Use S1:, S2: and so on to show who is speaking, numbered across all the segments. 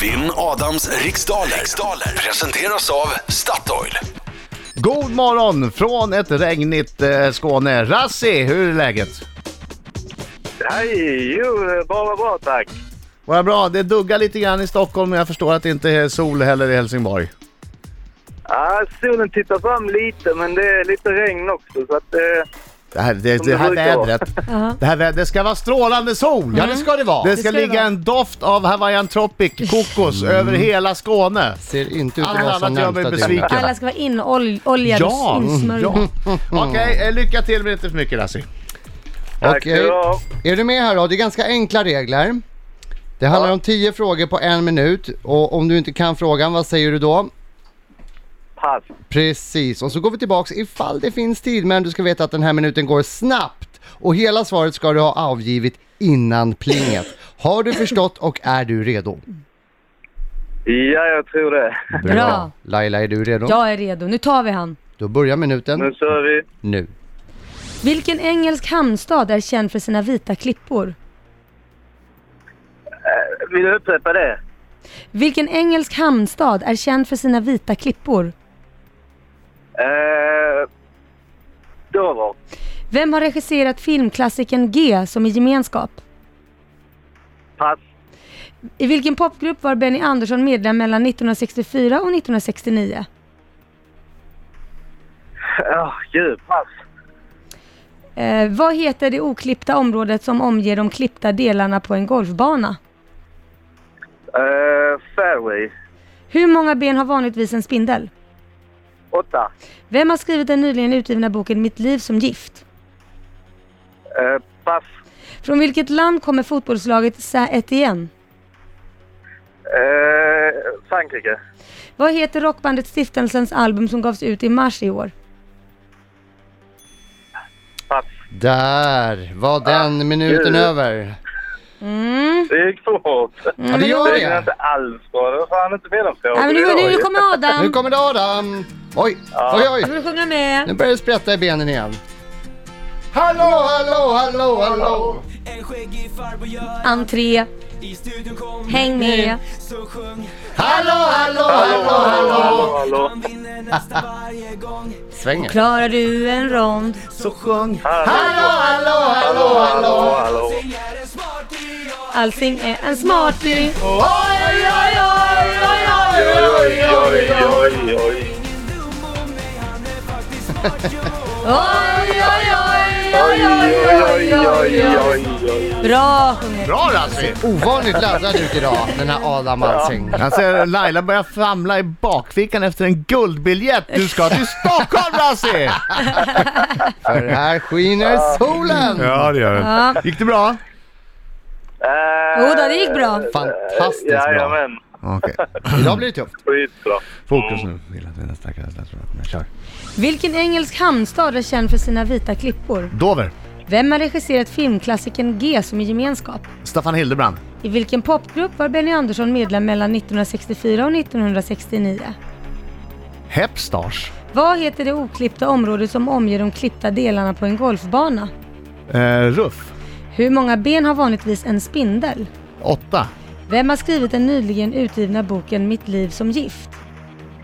S1: Vinn Adams riksdaler. riksdaler presenteras av Statoil.
S2: God morgon från ett regnigt eh, Skåne. Rassi, hur är läget?
S3: Hej! Jo, bara bra tack.
S2: Vad bra, det duggar lite grann i Stockholm men jag förstår att det inte är sol heller i Helsingborg.
S3: Ah, solen tittar fram lite, men det är lite regn också. Så att, eh,
S2: Det här, det,
S3: Som
S2: det
S3: det
S2: här
S3: brukar vara.
S2: vädret, det här vädret, det ska vara strålande sol!
S4: Ja, det ska det vara.
S2: Det ska
S5: ska det
S2: ligga
S5: vara.
S2: en doft av Hawaiian Tropic kokos över hela Skåne.
S4: Ser inte ut
S2: Allt
S4: att vara så
S2: annat gör mig
S4: närmsta
S2: besviken.
S4: dygnet.
S5: Alla ska vara inoljade
S2: Ja,
S5: och insmörjda.
S2: ja. Okej, eh, lycka till men inte för mycket Rassi.
S3: tack
S4: Okej.
S3: ska du ha.
S4: Är du med här då? Det är ganska enkla regler. Det handlar om 10 frågor på en minut och om du inte kan frågan, vad säger du då?
S3: Pass.
S4: Precis, och så går vi tillbaks ifall det finns tid men du ska veta att den här minuten går snabbt och hela svaret ska du ha avgivit innan plinget. Har du förstått och är du redo?
S3: Ja, jag tror det.
S5: Bra.
S4: Laila, är du redo?
S5: Jag är redo. Nu tar vi han.
S4: Då börjar
S3: Nu
S4: minuten
S3: kör vi.
S4: nu.
S5: Vilken engelsk hamnstad är känd för sina vita klippor?
S3: Vill du upprepa det?
S5: Vilken engelsk hamnstad är känd för sina vita klippor?
S3: Eh, då var.
S5: Vem har regisserat filmklassikern G som i gemenskap?
S3: Pass.
S5: I vilken popgrupp var Benny Andersson medlem mellan 1964 och 1969?
S3: Ja, gud, pass.
S5: Eh, vad heter det oklippta området som omger de klippta delarna på en golfbana?
S3: Eh, fairway.
S5: Hur många ben har vanligtvis en spindel?
S3: Åtta.
S5: Vem har skrivit den nyligen utgivna boken Mitt liv som gift?
S3: Eh, pass.
S5: Från vilket land kommer fotbollslaget Saint-Étienne?
S3: Eh, Frankrike.
S5: Vad heter rockbandet Stiftelsens album som gavs ut i mars i år?
S3: Pass.
S4: Där var den minuten
S3: gud.
S4: över.
S3: Det gick för hårt.
S4: Ja, Mm. det gör
S3: Det är
S4: det.
S3: inte alls bra. Det var fan inte mina frågor.
S5: Nej, men nu, nu kommer Adam!
S4: Nu kommer det Adam. Oj, oj, oj.
S5: Nu får du sjunga
S4: Nu
S5: med!
S4: börjar det sprätta i benen igen. Hallå, hallå, hallå, hallå!
S6: En skäggig farbror gör
S5: Entré,
S6: i studion kom
S5: häng med!
S6: Så sjung
S4: Hallå, hallå, hallå, hallå!
S3: Hallå, hallå.
S6: Han vinner nästan varje gång
S4: Svänger.
S5: Klarar du en rond?
S6: Så sjung
S4: Hallå, hallå, hallå, hallå!
S3: hallå.
S6: Allting är en smarting
S5: Allting är en smarting!
S6: ja.
S4: Oj, oj, oj, oj, oj, oj, oj, oj!
S3: Oj, oj.
S6: Ingen dum om mig Han är faktiskt smart
S5: Oj,
S6: jo
S5: oj, oj, oj, oj, oj, oj, oj. Bra sjunget!
S2: Bra Rassi!
S4: Ovanligt laddad ut idag, den här Adam Alsing.
S2: Alltså Laila börjar famla i bakfickan efter en guldbiljett. Du ska till Stockholm Rassi!
S4: För här skiner solen!
S2: Ja det gör
S5: Ja.
S2: Gick det bra?
S5: Jo då, det gick bra.
S4: Fantastiskt bra.
S3: Eh, Jajamän,
S2: Okej.
S4: Idag blir det tufft.
S3: skitbra.
S5: Oh.
S2: Fokus nu. Vill att mina stackare statsråd kommer. Kör.
S5: Vilken engelsk hamnstad är känd för sina vita klippor?
S2: Dover.
S5: Vem har regisserat filmklassikern G som i gemenskap?
S2: Staffan Hildebrand.
S5: I vilken popgrupp var Benny Andersson medlem mellan 1964 och 1969?
S2: Hepstars.
S5: Vad heter det oklippta området som omger de klippta delarna på en golfbana?
S2: Eh, Ruff.
S5: Hur många ben har vanligtvis en spindel?
S2: 8.
S5: Vem har skrivit den nyligen utgivna boken Mitt liv som gift?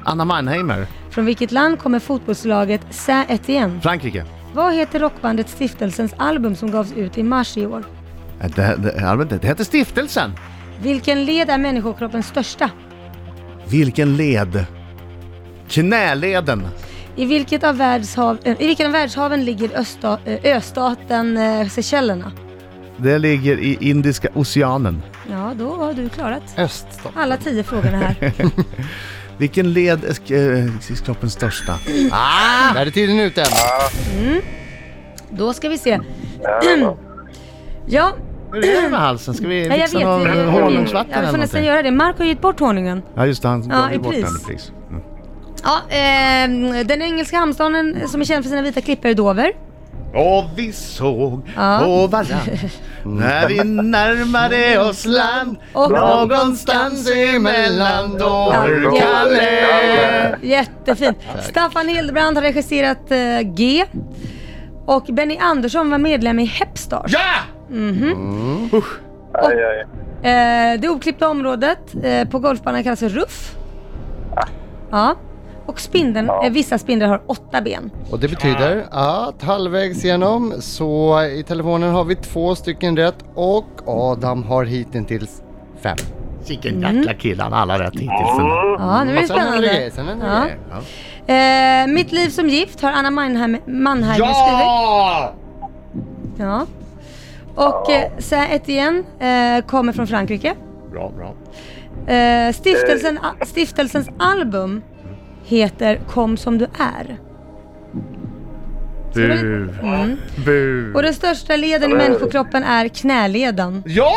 S2: Anna Mannheimer.
S5: Från vilket land kommer fotbollslaget Saint-Étienne?
S2: Frankrike.
S5: Vad heter rockbandet Stiftelsens album som gavs ut i mars i år?
S2: Eh, Det, det, jag vet inte, det heter Stiftelsen.
S5: Vilken led är människokroppens största?
S2: Vilken led? Knäleden.
S5: I, vilket av världshav, eh, I vilken av världshaven ligger östa, eh, östaten eh, Seychellerna?
S2: Det ligger i Indiska oceanen.
S5: Ja, då har du klarat
S4: Öst.
S5: alla tio frågorna här.
S2: Vilken led är sk- eh, kroppens största?
S5: Ah.
S4: Där är tiden ute.
S5: Då ska vi se. ja,
S2: Hur är det med halsen? Ska vi
S5: nej, jag
S2: fixa någon
S5: vet. Jag,
S2: honungsvatten
S5: jag
S2: eller
S5: får nästan
S2: någonting?
S5: göra det. Mark har gett bort honungen.
S2: Ja just det, han
S5: Ja,
S2: gav ju
S5: i
S2: bort
S5: pris.
S2: den i pris. Mm.
S5: Ja, ehm, den engelska hamnstaden som är känd för sina vita klippor är Dover.
S2: Och vi såg
S5: Ja.
S2: på varann när vi närmade oss land
S5: Och-
S2: någonstans emellan Dorkalle.
S5: Jättefint. Staffan Hildebrand har regisserat eh, G. Och Benny Andersson var medlem i Hepstars.
S2: Ja!
S3: Aj, aj.
S5: Eh, det oklippta området eh, på golfbanan kallas för ruff. Ja. Och spindeln, eh, vissa spindlar har åtta ben.
S4: Och det betyder att halvvägs igenom så i telefonen har vi två stycken rätt och Adam har hittills fem.
S2: Vilken
S5: Mm.
S2: jäkla kille, han har alla rätt hittills. ändå.
S5: Ja, nu är det
S4: Och sen händer det
S5: spännande.
S4: grejer, sen händer det
S5: Ja.
S4: grejer. Ja.
S5: Eh, mitt liv som gift har Anna Mannheim, Mannheimer skrivit.
S2: Ja!
S5: Ja. Och eh, Saint Etienne eh, kommer från Frankrike.
S2: Bra, bra.
S5: Eh, stiftelsen, stiftelsens album heter Kom som du är.
S2: Bu.
S5: Mm.
S2: Bu.
S5: Och den största leden i människokroppen är knäleden.
S2: Ja!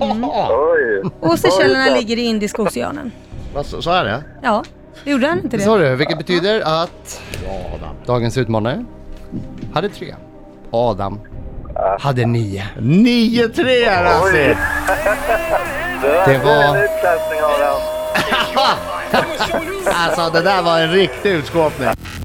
S3: Oj!
S5: Och Seychellerna ligger i Indiska oceanen.
S2: Vad sa- Sa jag det?
S5: Ja, gjorde han inte
S4: Det sa
S5: det?
S4: du, vilket betyder att
S2: Bra Adam.
S4: dagens utmanare hade tre. Adam hade nio.
S2: 9-3 Rasse!
S4: Det
S3: En
S4: var...
S3: utklassning har han.
S2: Alltså det där var en riktig utskåpning.